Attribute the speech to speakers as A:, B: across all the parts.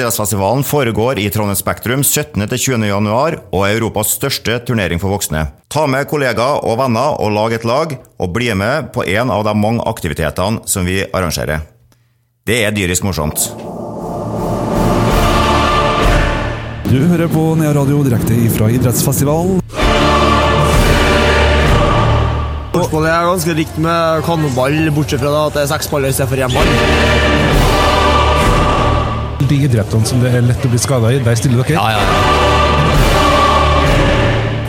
A: Idrettsfestivalen foregår i Trondheim Spektrum 17.-20. januar og er Europas største turnering for voksne. Ta med kollegaer og venner og lag et lag, og bli med på en av de mange aktivitetene som vi arrangerer. Det er dyrisk morsomt.
B: Du hører på Nea Radio direkte fra idrettsfestivalen.
C: Spørsmålet er ganske likt med kanonball, bortsett fra da at det er seks baller istedenfor én ball.
D: De idrettene som det er lett å bli skada i, der stiller dere?
E: Ja, ja.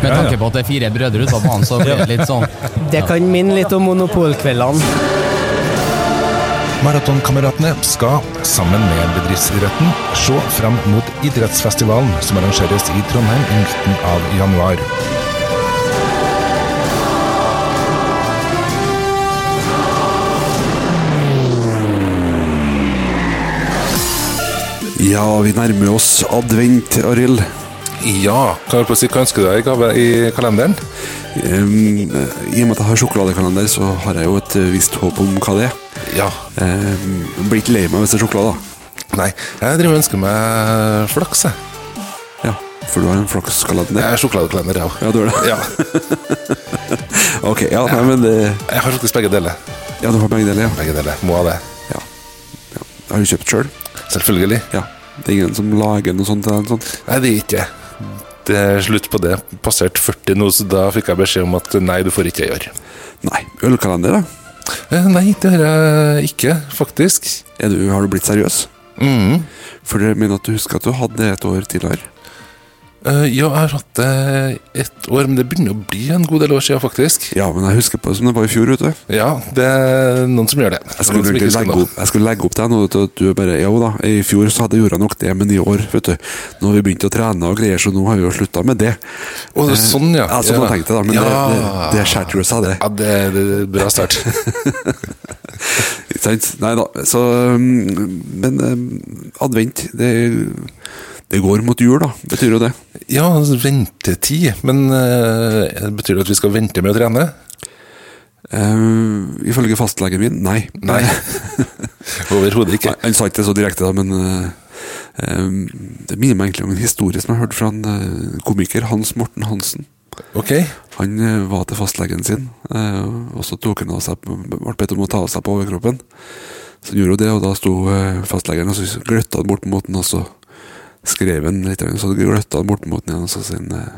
E: Med
D: Ja, ja.
E: tanke på at det er fire brødre ut av banen, så blir det litt sånn
C: Det kan minne litt om monopolkveldene.
D: Maratonkameratene skal, sammen med bedriftsidretten, se fram mot idrettsfestivalen som arrangeres i Trondheim i midten av januar.
B: Ja, vi nærmer oss advent, Arild.
D: Ja, kan jeg på å si hva ønsker du deg i gave i kalenderen?
B: Ehm, I og med at jeg har sjokoladekalender, så har jeg jo et eh, visst håp om hva det er.
D: Ja.
B: Ehm, blir ikke lei meg hvis det er sjokolade, da.
D: Nei, jeg driver og ønsker meg flaks, jeg.
B: Ja, for du har en
D: Jeg
B: flakskalender.
D: er sjokoladekalender, jeg
B: Ja,
D: òg.
B: du har det?
D: Ja.
B: Ok, ja, nei, men det
D: Jeg har faktisk begge deler.
B: Ja, du har begge deler, ja.
D: Begge deler. Må ha det.
B: ja. ja. Har du kjøpt sjøl?
D: Selvfølgelig.
B: Ja. Det er ingen som lager noe sånt? Eller noe sånt.
D: Nei, det gikk ikke. Det er slutt på det. Passert 40 nå, så da fikk jeg beskjed om at nei, du får ikke gjøre.
B: Nei. Ølkalender, da?
D: Eh, Nei, det har jeg ikke, faktisk.
B: Er du, har du blitt seriøs?
D: Mm.
B: For det mener at du husker at du hadde det et år tidligere.
D: Eh, ja, jeg har hatt det ett år, men det begynner å bli en god del år siden, faktisk.
B: Ja, men jeg husker på det som det var i fjor, vet du.
D: Ja, det er noen som gjør det.
B: Jeg skulle,
D: Noen som ikke
B: egentlig
D: skal
B: legge
D: nå.
B: opp, jeg skulle legge opp til deg nå, vet du, at du bare Jo da, i fjor så hadde jeg gjort nok det, men i år, vet du Nå har vi begynt å trene og greier, så nå har vi jo slutta med det.
D: Å, det er sånn, ja.
B: Ja, sånn
D: ja.
B: jeg tenkte da, men det- det- det skjærte du seg, det.
D: Ja, det, det er en bra start.
B: Ikke sant? Nei da. Så um, Men um, advent, det, det går mot jul, da. Betyr jo det.
D: ja, altså, ventetid. Men eh, betyr det at vi skal vente med å trene?
B: Uh, ifølge fastlegen min, nei.
D: Nei. Overhodet ikke.
B: Nei, Han sa ikke det så direkte, da, men eh, em, det minner meg egentlig om en historie som jeg hørte fra en eh, komiker, Hans Morten Hansen.
D: Ok.
B: Han eh, var til fastlegen sin, eh, og så tok han av seg ble bedt om å ta av seg på overkroppen. Så han gjorde jo det, og da sto eh, fastlegen og så gløtta han bort mot den, og så skrev han litt, og så gløtta han bort mot den igjen, og så sier han eh,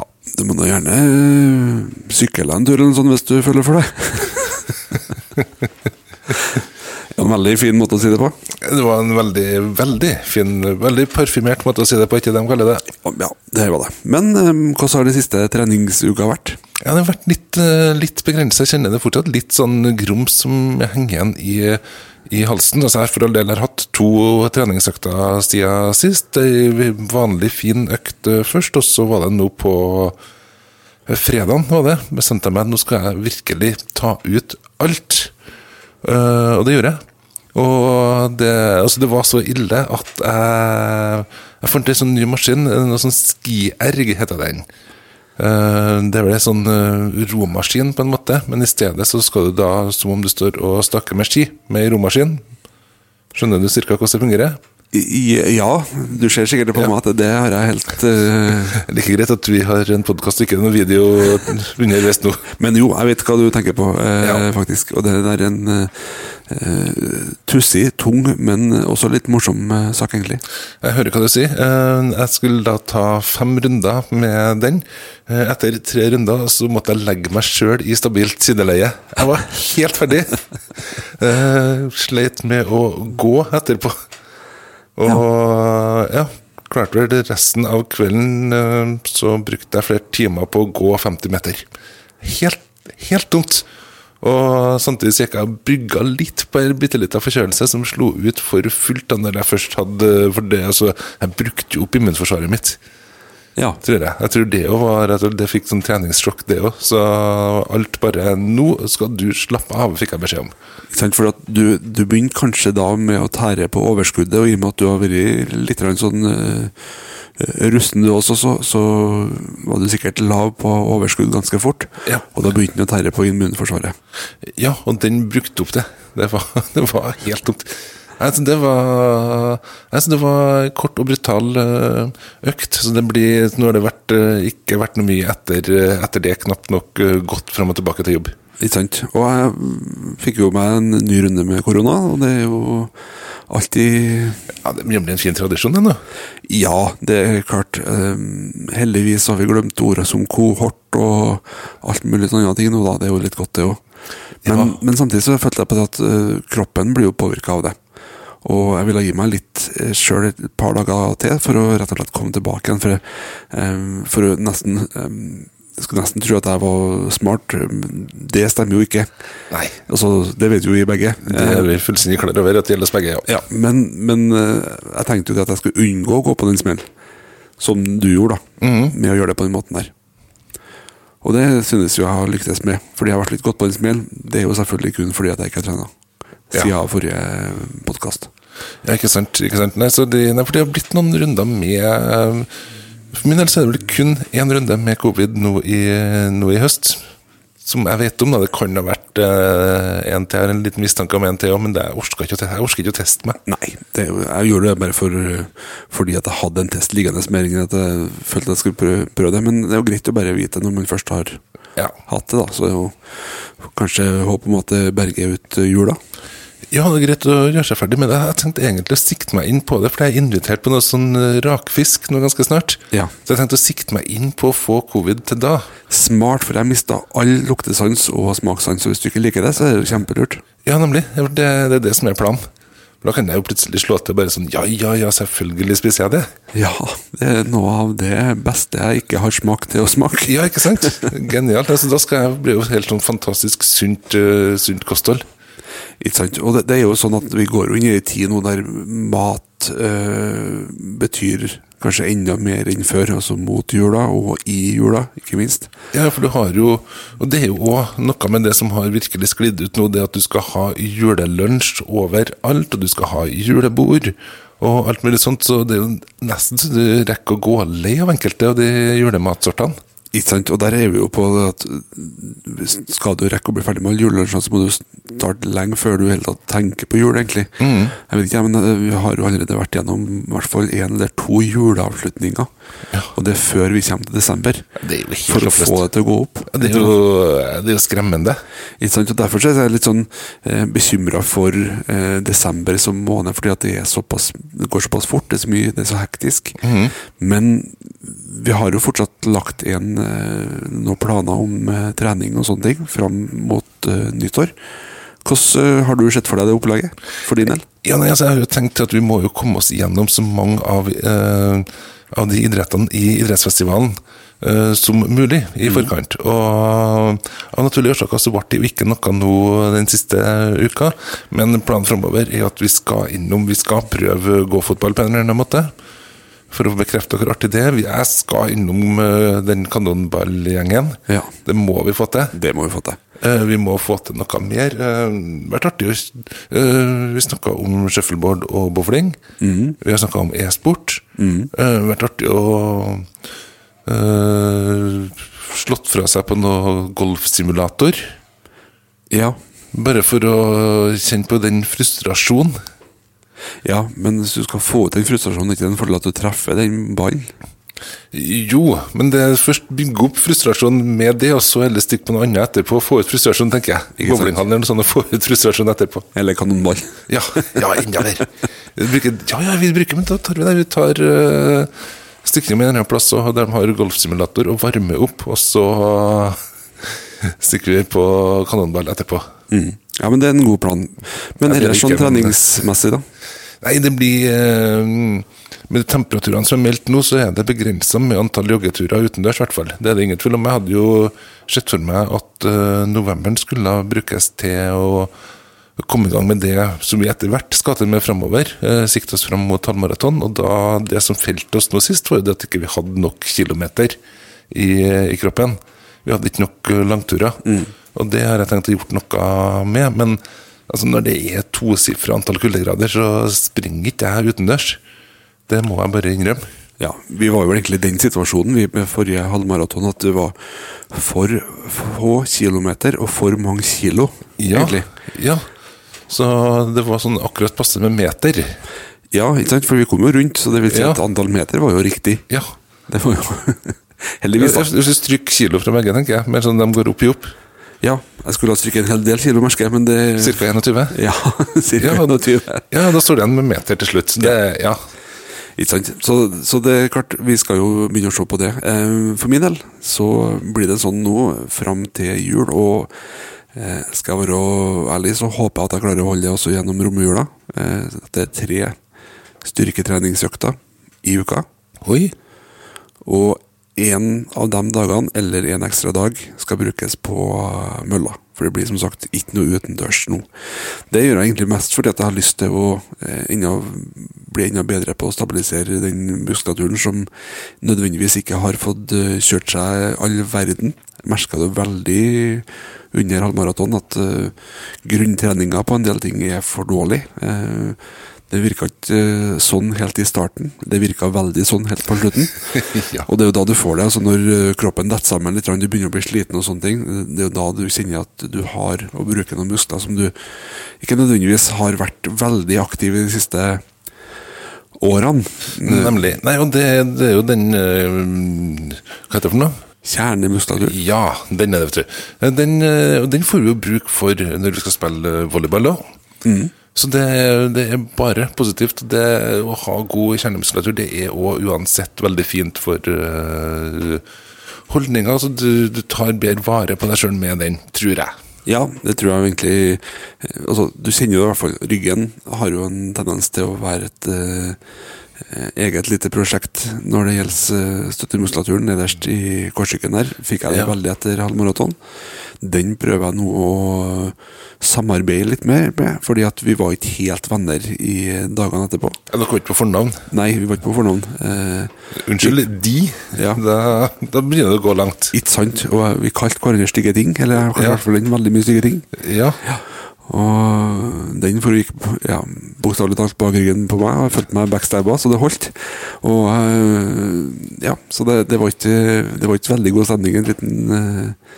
B: Ja, du må nå gjerne eh, sykle deg en tur eller noe sånt hvis du føler for det. en veldig fin måte å si det på.
D: Det var en veldig, veldig fin, veldig parfymert måte å si det på, ikke det de kaller det.
B: Ja, det var det. Men eh, hvordan har de siste treningsuka vært?
D: Ja, det har vært litt, eh, litt begrensa. Jeg kjenner det fortsatt litt sånn grums som henger igjen i, i halsen. Altså jeg har for all del har hatt to treningsøkter siden sist. Ei vanlig fin økt eh, først, og så var det nå på eh, fredagen var det. Bestemte jeg meg at nå skal jeg virkelig ta ut alt. Eh, og det gjorde jeg. Og det, altså det var så ille at jeg, jeg fant en sånn ny maskin. Noe sånn skierg heter den. Eh, Det er vel en sånn eh, romaskin på en måte, men i stedet så skal du da, som om du står og stakker med ski, med en romaskin. Skjønner du cirka hvordan det fungerer?
B: I- Ja, du ser sikkert på meg at det har jeg helt eh,
D: Det er like greit at vi har en podkast og ikke noen video underveis nå.
B: Men jo, jeg vet hva du tenker på, eh,
D: Ja.
B: faktisk. Og det er en eh, eh, tussig, tung, men også litt morsom eh, sak, egentlig.
D: Jeg hører hva du sier. Eh, Jeg skulle da ta fem runder med den. Eh, Etter tre runder så måtte jeg legge meg sjøl i stabilt sideleie. Jeg var helt ferdig. Eh, Sleit med å gå etterpå. Og ja, klarte vel resten av kvelden eh, så brukte jeg flere timer på å gå 50 meter. Helt, helt dumt. Og samtidig så gikk jeg og brygga litt på en bitte lita forkjølelse som slo ut for fullt da når jeg først hadde For det, altså, jeg brukte jo opp immunforsvaret mitt,
B: Ja.
D: tror jeg. Jeg tror det òg var at Det fikk sånn treningssjokk, det òg. Så alt bare Nå skal du slappe av, fikk jeg beskjed om.
B: Ikke sant? For at du, du begynte kanskje da med å tære på overskuddet, og i og med at du har vært litt grann sånn eh, rusten du også, så, så var du sikkert lav på overskudd ganske fort.
D: Ja.
B: Og da begynte du å tære på immunforsvaret.
D: Ja, og den brukte opp det. Det var, det var helt dumt. Nei, så det var, nei, så det var en kort og brutal eh, økt. Så det blir, nå har det vært, eh, ikke vært noe mye etter, eh, etter det, knapt nok eh, gått fram og tilbake til jobb.
B: Ikke sant. Og jeg mm, fikk jo meg en ny runde med korona, og det er jo alltid
D: Ja, Det blir en fin tradisjon, det nå.
B: Ja, det er klart. Ehm, heldigvis har vi glemt ordet som kohort og alt mulig sånne andre ting nå, da. Det er jo litt godt, det òg. Men,
D: Ja.
B: men samtidig så følte jeg på det at eh, kroppen blir jo påvirka av det. Og jeg ville gi meg litt sjøl et par dager til for å rett og slett komme tilbake igjen. For, jeg, ehm, for å nesten ehm, Jeg skulle nesten tro at jeg var smart. Det stemmer jo ikke.
D: Nei.
B: Altså, det vet jo vi begge.
D: Det er vi fullstendig klar over at det gjelder oss begge. Ja.
B: Eh. Ja, men, men eh, jeg tenkte jo det at jeg skulle unngå å gå på den smell, som du gjorde, da.
D: Mhm.
B: Med å gjøre det på den måten der. Og det synes jo jeg har lyktes med, fordi jeg har vært litt godt på den smell. Det er jo selvfølgelig kun fordi at jeg ikke har trena siden
D: Ja.
B: forrige eh, podkast.
D: Ja, ikke sant. ikke sant Nei, så det, nei, for det har blitt noen runder med eh, For min del så er det vel kun én runde med covid nå i, nå i høst. Som jeg vet om. da Det kan ha vært eh, en til. Jeg har en liten mistanke om en til, ja, men det, jeg, orker ikke, å te- jeg orker ikke å teste meg.
B: Nei, det, er jo- jeg gjorde det bare for, eh, fordi at jeg hadde en test liggende mer enn at jeg følte jeg skulle prøve, prøve det. Men det er jo greit å bare vite når man først har
D: Ja.
B: hatt det, da. Så er jo kanskje håp om at det berger ut eh, jula.
D: Ja, det er greit å gjøre seg ferdig med det. Jeg tenkte egentlig å sikte meg inn på det, for jeg er invitert på noe sånn eh, rakfisk nå ganske snart.
B: Ja.
D: Så jeg tenkte å sikte meg inn på å få covid til da.
B: Smart, for jeg mista all luktesans og smakssans. Og hvis du ikke liker det, så er det jo kjempelurt.
D: Ja, nemlig. Det, det det er det som er planen. For Da kan jeg jo plutselig slå til bare sånn Ja, ja, ja, selvfølgelig spiser jeg det.
B: Ja, det er noe av det beste jeg ikke har smakt til å smake.
D: Ja, ikke sant? Genialt. Altså, da skal jeg bli jo helt sånn fantastisk sunt, eh, sunt kosthold.
B: Ikke sant? Og det, det er jo sånn at vi går jo inn i en tid nå der mat eh, betyr kanskje enda mer enn før. Altså mot jula, og i jula, ikke minst.
D: Ja, for du har jo Og det er jo òg noe med det som har virkelig sklidd ut nå, det at du skal ha julelunsj overalt, og du skal ha julebord og alt mulig sånt, så det er jo nesten så du rekker å gå lei av enkelte av de julematsortene.
B: Ikke sant? Og der er vi jo på det at hvis skal du rekke å bli ferdig med all julelunsjen, så må du starte lenge før du i hele tatt tenker på jul, egentlig.
D: Mm.
B: Jeg vet ikke, jeg, men eh, vi har jo allerede vært gjennom i hvert fall én eller to juleavslutninger. Og det er før vi kommer til desember.
D: Det er jo helt
B: for å
D: oppløst.
B: få det til å gå opp.
D: Det er jo, det er jo skremmende.
B: Ikke sant? Og Derfor så er jeg litt sånn eh, bekymra for eh, desember som måned, fordi at det, er såpass, det går såpass fort, det er så mye, det er så hektisk. Men vi har jo fortsatt lagt igjen eh, noen planer om eh, trening og sånne ting fram mot eh, nyttår. Hvordan eh, har du sett for deg det opplegget, for din del?
D: Ja, nei, altså, jeg har jo tenkt at vi må jo komme oss igjennom så mange av, eh, av de idrettene i idrettsfestivalen eh, som mulig i forkant. Og av naturlige årsaker så ble det jo ikke noe nå den siste uka, men planen framover er at vi skal innom, vi skal prøve gåfotball på en eller annen måte. For å bekrefte hvor artig det er, vi- jeg skal innom eh, den kanonballgjengen.
B: Ja.
D: Det må vi få til.
B: Det må vi få til.
D: Eh, Vi må få til noe mer. Eh, Det har vært artig å eh, Vi snakka om shuffleboard og bowling. Vi har snakka om e-sport. Eh, Det har vært artig å eh, Slått fra seg på noe golfsimulator.
B: Ja.
D: Bare for å kjenne på den frustrasjonen.
B: ja, men hvis du skal få ut den frustrasjonen, er det ikke den fordel at du treffer den ballen?
D: Jo, men det er først bygge opp frustrasjon med det, og så heller stikke på noe annet etterpå. Få ut frustrasjon, tenker jeg.
B: Ikke sant.
D: Bowlinghallen eller noe sånt, og få ut frustrasjon etterpå.
B: Eller kanonball?
D: Ja, ja enda mer. Vi bruker, ja, ja, vi bruker, men da tar vi det. Vi tar uh, stikning med en eller annen plass, og de har golfsimulator og varmer opp, og så eh, stikker vi på kanonball etterpå.
B: Mm. Ja, men det er en god plan. Men
D: Jeg vet
B: ellers sånn
D: ikke, men-
B: treningsmessig, da?
D: Nei, det blir eh, Med de temperaturene som er meldt nå, så er det begrensa med antall joggeturer utendørs, i hvert fall. Det er det ingen tvil om. Jeg hadde jo sett for meg at eh, novemberen skulle brukes til å komme i gang med det som vi etter hvert skal til med framover. Eh, sikte oss fram mot halvmaraton. Og da, det som felte oss nå sist, var jo det at ikke vi ikke hadde nok kilometer i, i kroppen. Vi hadde ikke nok eh, langturer. Og det har jeg tenkt å gjort noe med. Men altså, når det er tosifra antall kuldegrader, så springer ikke jeg utendørs. Det må jeg bare innrømme.
B: Ja, vi var jo egentlig i den situasjonen vi med forrige halvmaraton, at det var for få kilometer og for mange kilo,
D: Ja,
B: egentlig.
D: ja. Så det var sånn akkurat passe med meter.
B: Ja, ikke sant? for vi kom jo rundt, så det vil si
D: Ja.
B: at antall meter var jo riktig.
D: Ja.
B: Det var jo Heldigvis. da.
D: Hvis du stryker kilo fra begge, tenker jeg. Men sånn de går opp i opp.
B: Ja, jeg skulle ha stryket en hel del kilo, merker jeg, men det
D: Cirka 21.
B: Ja, cirka
D: Ja,
B: 21.
D: ja, da står det igjen med meter til slutt. Det, ja.
B: Ikke sant? Så, så det er klart, vi skal jo begynne å se på det. Eh, For min del så blir det sånn nå fram til jul, og eh, skal jeg være ærlig, så håper jeg at jeg klarer å holde det også gjennom romjula. Eh, at Det er tre styrketreningsøkter i uka,
D: Oi.
B: og én av de dagene, eller en ekstra dag, skal brukes på eh, mølla. For det blir som sagt ikke noe utendørs nå. Det gjør jeg egentlig mest fordi at jeg har lyst til å eh, enda, bli enda bedre på å stabilisere den muskulaturen som nødvendigvis ikke har fått eh, kjørt seg all verden. Jeg merka det veldig under halvmaraton at eh, grunntreninga på en del ting er for dårlig. Eh, det virka ikke eh, sånn helt i starten, det virka veldig sånn helt på slutten.
D: Ja.
B: Og det er jo da du får det. altså Når eh, kroppen detter sammen litt, du begynner å bli sliten, og sånne ting, det er jo da du kjenner at du har å bruke noen muskler som du ikke nødvendigvis har vært veldig aktiv i de siste årene.
D: Nemlig. Nei, og det, det er jo den eh, Hva heter det for noe?
B: Kjernemuskulatur.
D: Ja, den er det, vet du. Den, eh, og den får vi jo bruk for når vi skal spille eh, volleyball òg. Så det, det er bare positivt. Det Å ha god kjernemuskulatur det er òg uansett veldig fint for eh, holdninger. Altså, du, du tar bedre vare på deg sjøl med den, tror jeg.
B: Ja, det tror jeg egentlig eh, Altså, du kjenner jo i hvert fall Ryggen har jo en tendens til å være et eh, eh, eget lite prosjekt når det gjelder eh, støttemuskulaturen nederst i korsryggen der. Fikk jeg det
D: Ja.
B: veldig etter halvmaraton. Den prøver jeg nå å samarbeide litt mer med, fordi at vi var ikke helt venner i dagene etterpå.
D: Ja, Dere var ikke på fornavn?
B: Nei, vi var ikke på fornavn. Eh,
D: Unnskyld, de?
B: Ja.
D: Da, da begynner det å gå langt.
B: ikke sant? Og eh, vi kalte hverandre stygge ting, eller jeg kalte i
D: Ja.
B: hvert fall den veldig mye stygge ting.
D: Ja.
B: Og den foregikk ja, bokstavelig talt bak ryggen på meg, og jeg følte meg backstabba, så det holdt. Og eh, ja, så det, det, var ikke, det var ikke veldig god stemning en liten eh,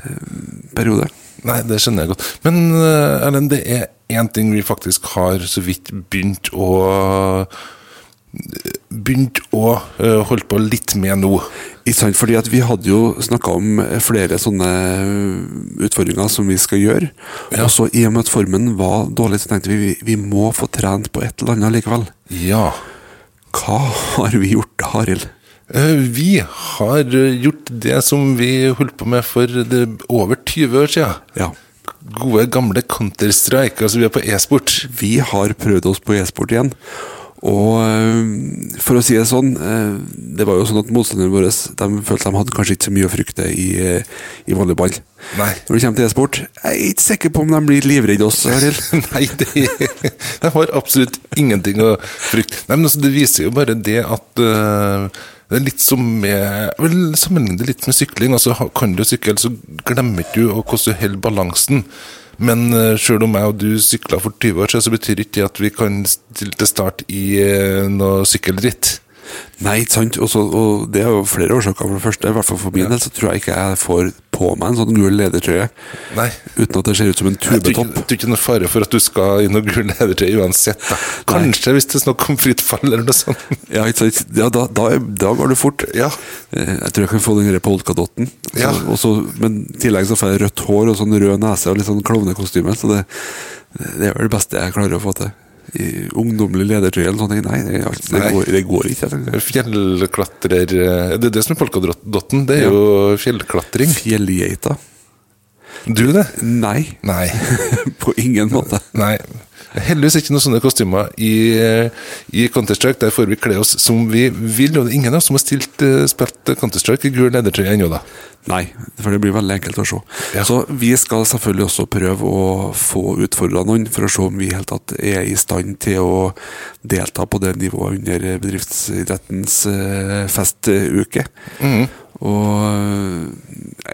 B: eh, periode.
D: Nei, det skjønner jeg godt. Men eh, Erlend, det er én ting vi faktisk har så vidt begynt å eh, Begynt å eh, holde på litt med nå.
B: Ikke sant, fordi at vi hadde jo snakka om flere sånne utfordringer som vi skal gjøre. Og så i og med at formen var dårlig, så tenkte vi vi, vi må få trent på et eller annet likevel.
D: Ja.
B: Hva har vi gjort, Arild?
D: Eh, Vi har eh, gjort det som vi holdt på med for det, over 20 år siden.
B: Ja.
D: Gode, gamle Counter-Strike. Altså, vi er på e-sport.
B: Vi har prøvd oss på e-sport igjen. Og eh, for å si det sånn, eh, det var jo sånn at motstanderne våre de følte de hadde kanskje ikke så mye å frykte i, eh, i volleyball.
D: Nei.
B: Når det kommer til e-sport, jeg er ikke sikker på om de blir livredde oss, Arild.
D: Nei, det, jeg har absolutt ingenting å frykte. Nei, men altså, det viser jo bare det at eh, det er litt som med vel, Sammenlign det litt med sykling. altså ha- Kan du sykle, så glemmer du å- hvordan du holder balansen. Men eh, selv om jeg og du sykla for 20 år siden, så betyr ikke det at vi kan stille til start i eh, noe sykkelritt.
B: Nei, ikke sant. Og, så, og det er jo flere årsaker. For det første, i hvert fall for min del, så tror jeg ikke jeg får på meg en sånn gul ledertrøye
D: Nei.
B: uten at det ser ut som en
D: Jeg tror ikke,
B: tubetopp.
D: jeg tror ikke det er noe fare for at du skal i noe gul ledertøy uansett. Da. Kanskje hvis det er snakk om fritt fall eller noe sånt.
B: Ja, ikke sant? ja da, da, da går det fort.
D: Ja.
B: Eh, Jeg tror jeg kan få den der polkadotten. Så-
D: Ja.
B: og så- Men i tillegg så får jeg rødt hår og sånn rød nese og litt sånn klovnekostyme. Så det, det er vel det beste jeg klarer å få til. I ungdommelig ledertrøye eller sånne ting. Nei, det, er alt- det,
D: Nei.
B: Går, det går ikke. Jeg tenker.
D: Fjellklatrer eh, Det er det som er polkadotten. Det er
B: Ja.
D: jo fjellklatring.
B: Fjellgeita?
D: Du det?
B: Nei,
D: Nei.
B: på ingen måte.
D: Nei. Heldigvis ikke noen sånne kostymer i, eh, i Counter-Strike. Der får vi kle oss som vi vil. Og det er ingen av oss som har stilt, eh, spilt Counter-Strike i gul ledertrøye ennå, da.
B: Nei, for det blir veldig enkelt å se.
D: Ja.
B: Så vi skal selvfølgelig også prøve å få utfordra noen, for å se om vi i hele tatt er i stand til å delta på det nivået under bedriftsidrettens eh, festuke. Og eh,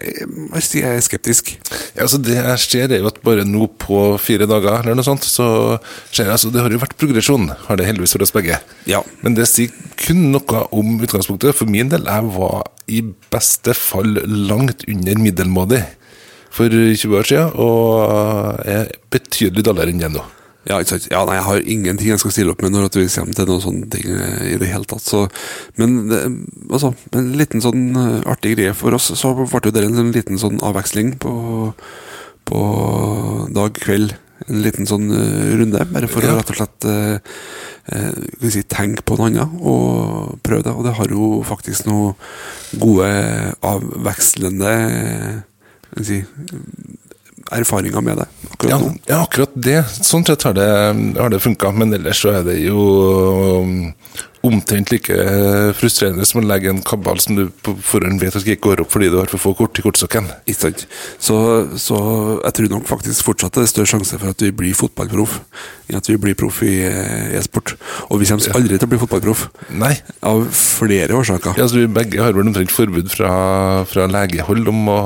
B: jeg må si jeg er skeptisk.
D: Ja, altså Det jeg ser, er jo at bare nå på fire dager eller noe sånt, så ser jeg altså Det har jo vært progresjon, har det heldigvis for oss begge.
B: Ja.
D: Men det sier kun noe om utgangspunktet. For min del, jeg var i beste fall langt under middelmådig. for 20 år siden, og er betydelig dårligere enn det nå.
B: Ja, ikke sant? ja, nei, jeg har ingenting jeg skal stille opp med når at vi kommer til noen sånne ting eh, i det hele tatt. Så, men det, altså, en liten sånn eh, artig greie for oss, så ble jo det en sånn liten sånn avveksling på, på dag kveld. En liten sånn eh, runde, bare for å rett og slett eh, eh, skal vi si, tenke på noe annet og prøve det. Og det har jo faktisk noen gode avvekslende eh, skal vi si, erfaringer med det akkurat
D: Ja,
B: nå.
D: ja, akkurat det. Sånn sett har det, har det funka, men ellers så er det jo um, omtrent like frustrerende som å legge en kabal som du på forhånd vet at ikke går opp fordi du har for få kort i kortstokken.
B: Ikke sant. Så, så jeg tror nok faktisk fortsatt det er større sjanse for at vi blir fotballproff enn at vi blir proff i eh, e-sport. Og vi kommer aldri til å bli fotballproff.
D: Nei.
B: Av flere årsaker.
D: Ja, så vi begge har vel omtrent forbud fra, fra legehold om å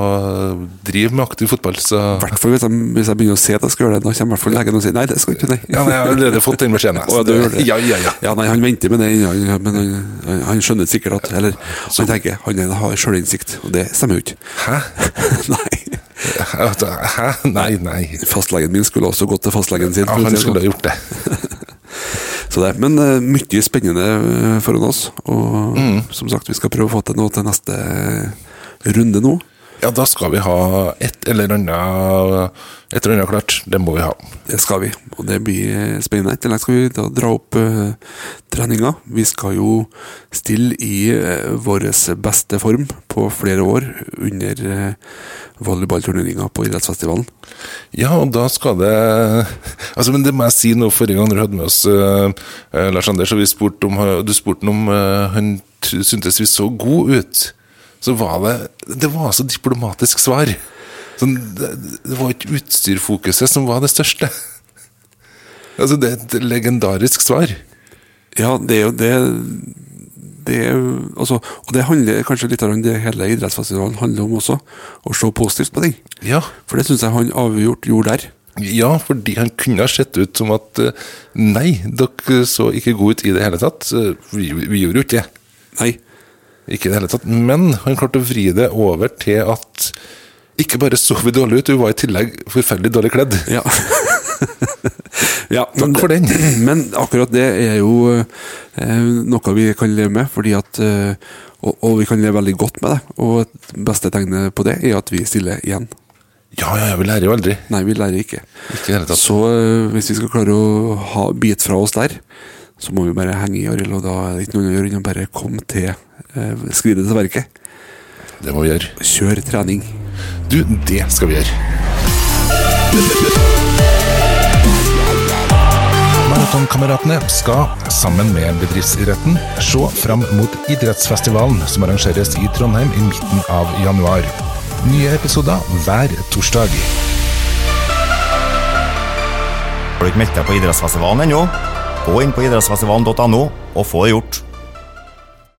D: drive med aktiv fotball, så
B: I hvert fall hvis, jeg- hvis jeg begynner å se at jeg skal gjøre det. Da kommer i hvert fall legen og sier nei, det skal du ikke, nei.
D: Ja, nei, jeg har allerede fått den beskjeden. jeg, så
B: Å, du gjør det.
D: Ja, ja, ja.
B: Ja, nei, Han venter med det, ja, ja, men han, han, han skjønner sikkert at Eller han tenker han er- har sjølinnsikt, og det stemmer jo ikke.
D: Hæ?
B: nei.
D: Altså, Hæ? Nei, nei.
B: Fastlegen min skulle også gått til fastlegen sin.
D: Ja,
B: for å si
D: han
B: det
D: skulle
B: sånn.
D: ha gjort det.
B: Så det, men eh, mye spennende eh, foran oss. Og som sagt, vi skal prøve å få til noe til neste eh, runde nå.
D: Ja, da skal vi ha et eller annet, et eller annet klart. Det må vi ha.
B: Det skal vi, og det blir eh, spennende. I tillegg skal vi da dra opp eh, treninga. Vi skal jo stille i eh, vår beste form på flere år under eh, volleyballturneringa på idrettsfestivalen.
D: Ja, og da skal det Altså, men det må jeg si nå, forrige gang du hadde med oss eh, eh, Lars Anders, og vi spurte om, du spurte han om eh, han t- syntes vi så gode ut. Så var det Det var så diplomatisk svar. Sånn, det, det var ikke utstyrfokuset som var det største. Altså, det er et legendarisk svar.
B: Ja, det er jo det det er, jo- altså, og det handler kanskje litt om det hele idrettsfestivalen handler om også. Å se positivt på ting.
D: Ja.
B: For det syns jeg han avgjort gjorde der.
D: Ja, fordi han kunne ha sett ut som at eh, Nei, dere så ikke gode ut i det hele tatt. Eh, Vi, vi gjorde jo ikke det.
B: Nei.
D: Ikke i det hele tatt. Men han klarte å vri det over til at ikke bare så vi dårlig ut, vi var i tillegg forferdelig dårlig kledd.
B: Ja. ja
D: Takk for den.
B: Men akkurat det er jo eh, noe vi kan leve med, fordi at eh, og, og vi kan leve veldig godt med det. Og et beste tegnet på det er at vi stiller igjen.
D: Ja, ja, ja, vi lærer jo aldri.
B: Nei, vi lærer ikke.
D: Ikke i det hele tatt.
B: Så eh, hvis vi skal klare å ha bit fra oss der, så må vi bare henge i, Arild. Og da er det ikke noe å gjøre enn å bare komme til eh, skriddet til verket.
D: Det må vi gjøre.
B: Kjør trening.
D: Du, det skal vi gjøre. Maratonkameratene skal, sammen med bedriftsidretten, se fram mot idrettsfestivalen som arrangeres i Trondheim i midten av januar. Nye episoder hver torsdag.
A: Har du ikke meldt deg på idrettsfestivalen ennå? Gå inn på idrettsfestivalen.no og få det gjort.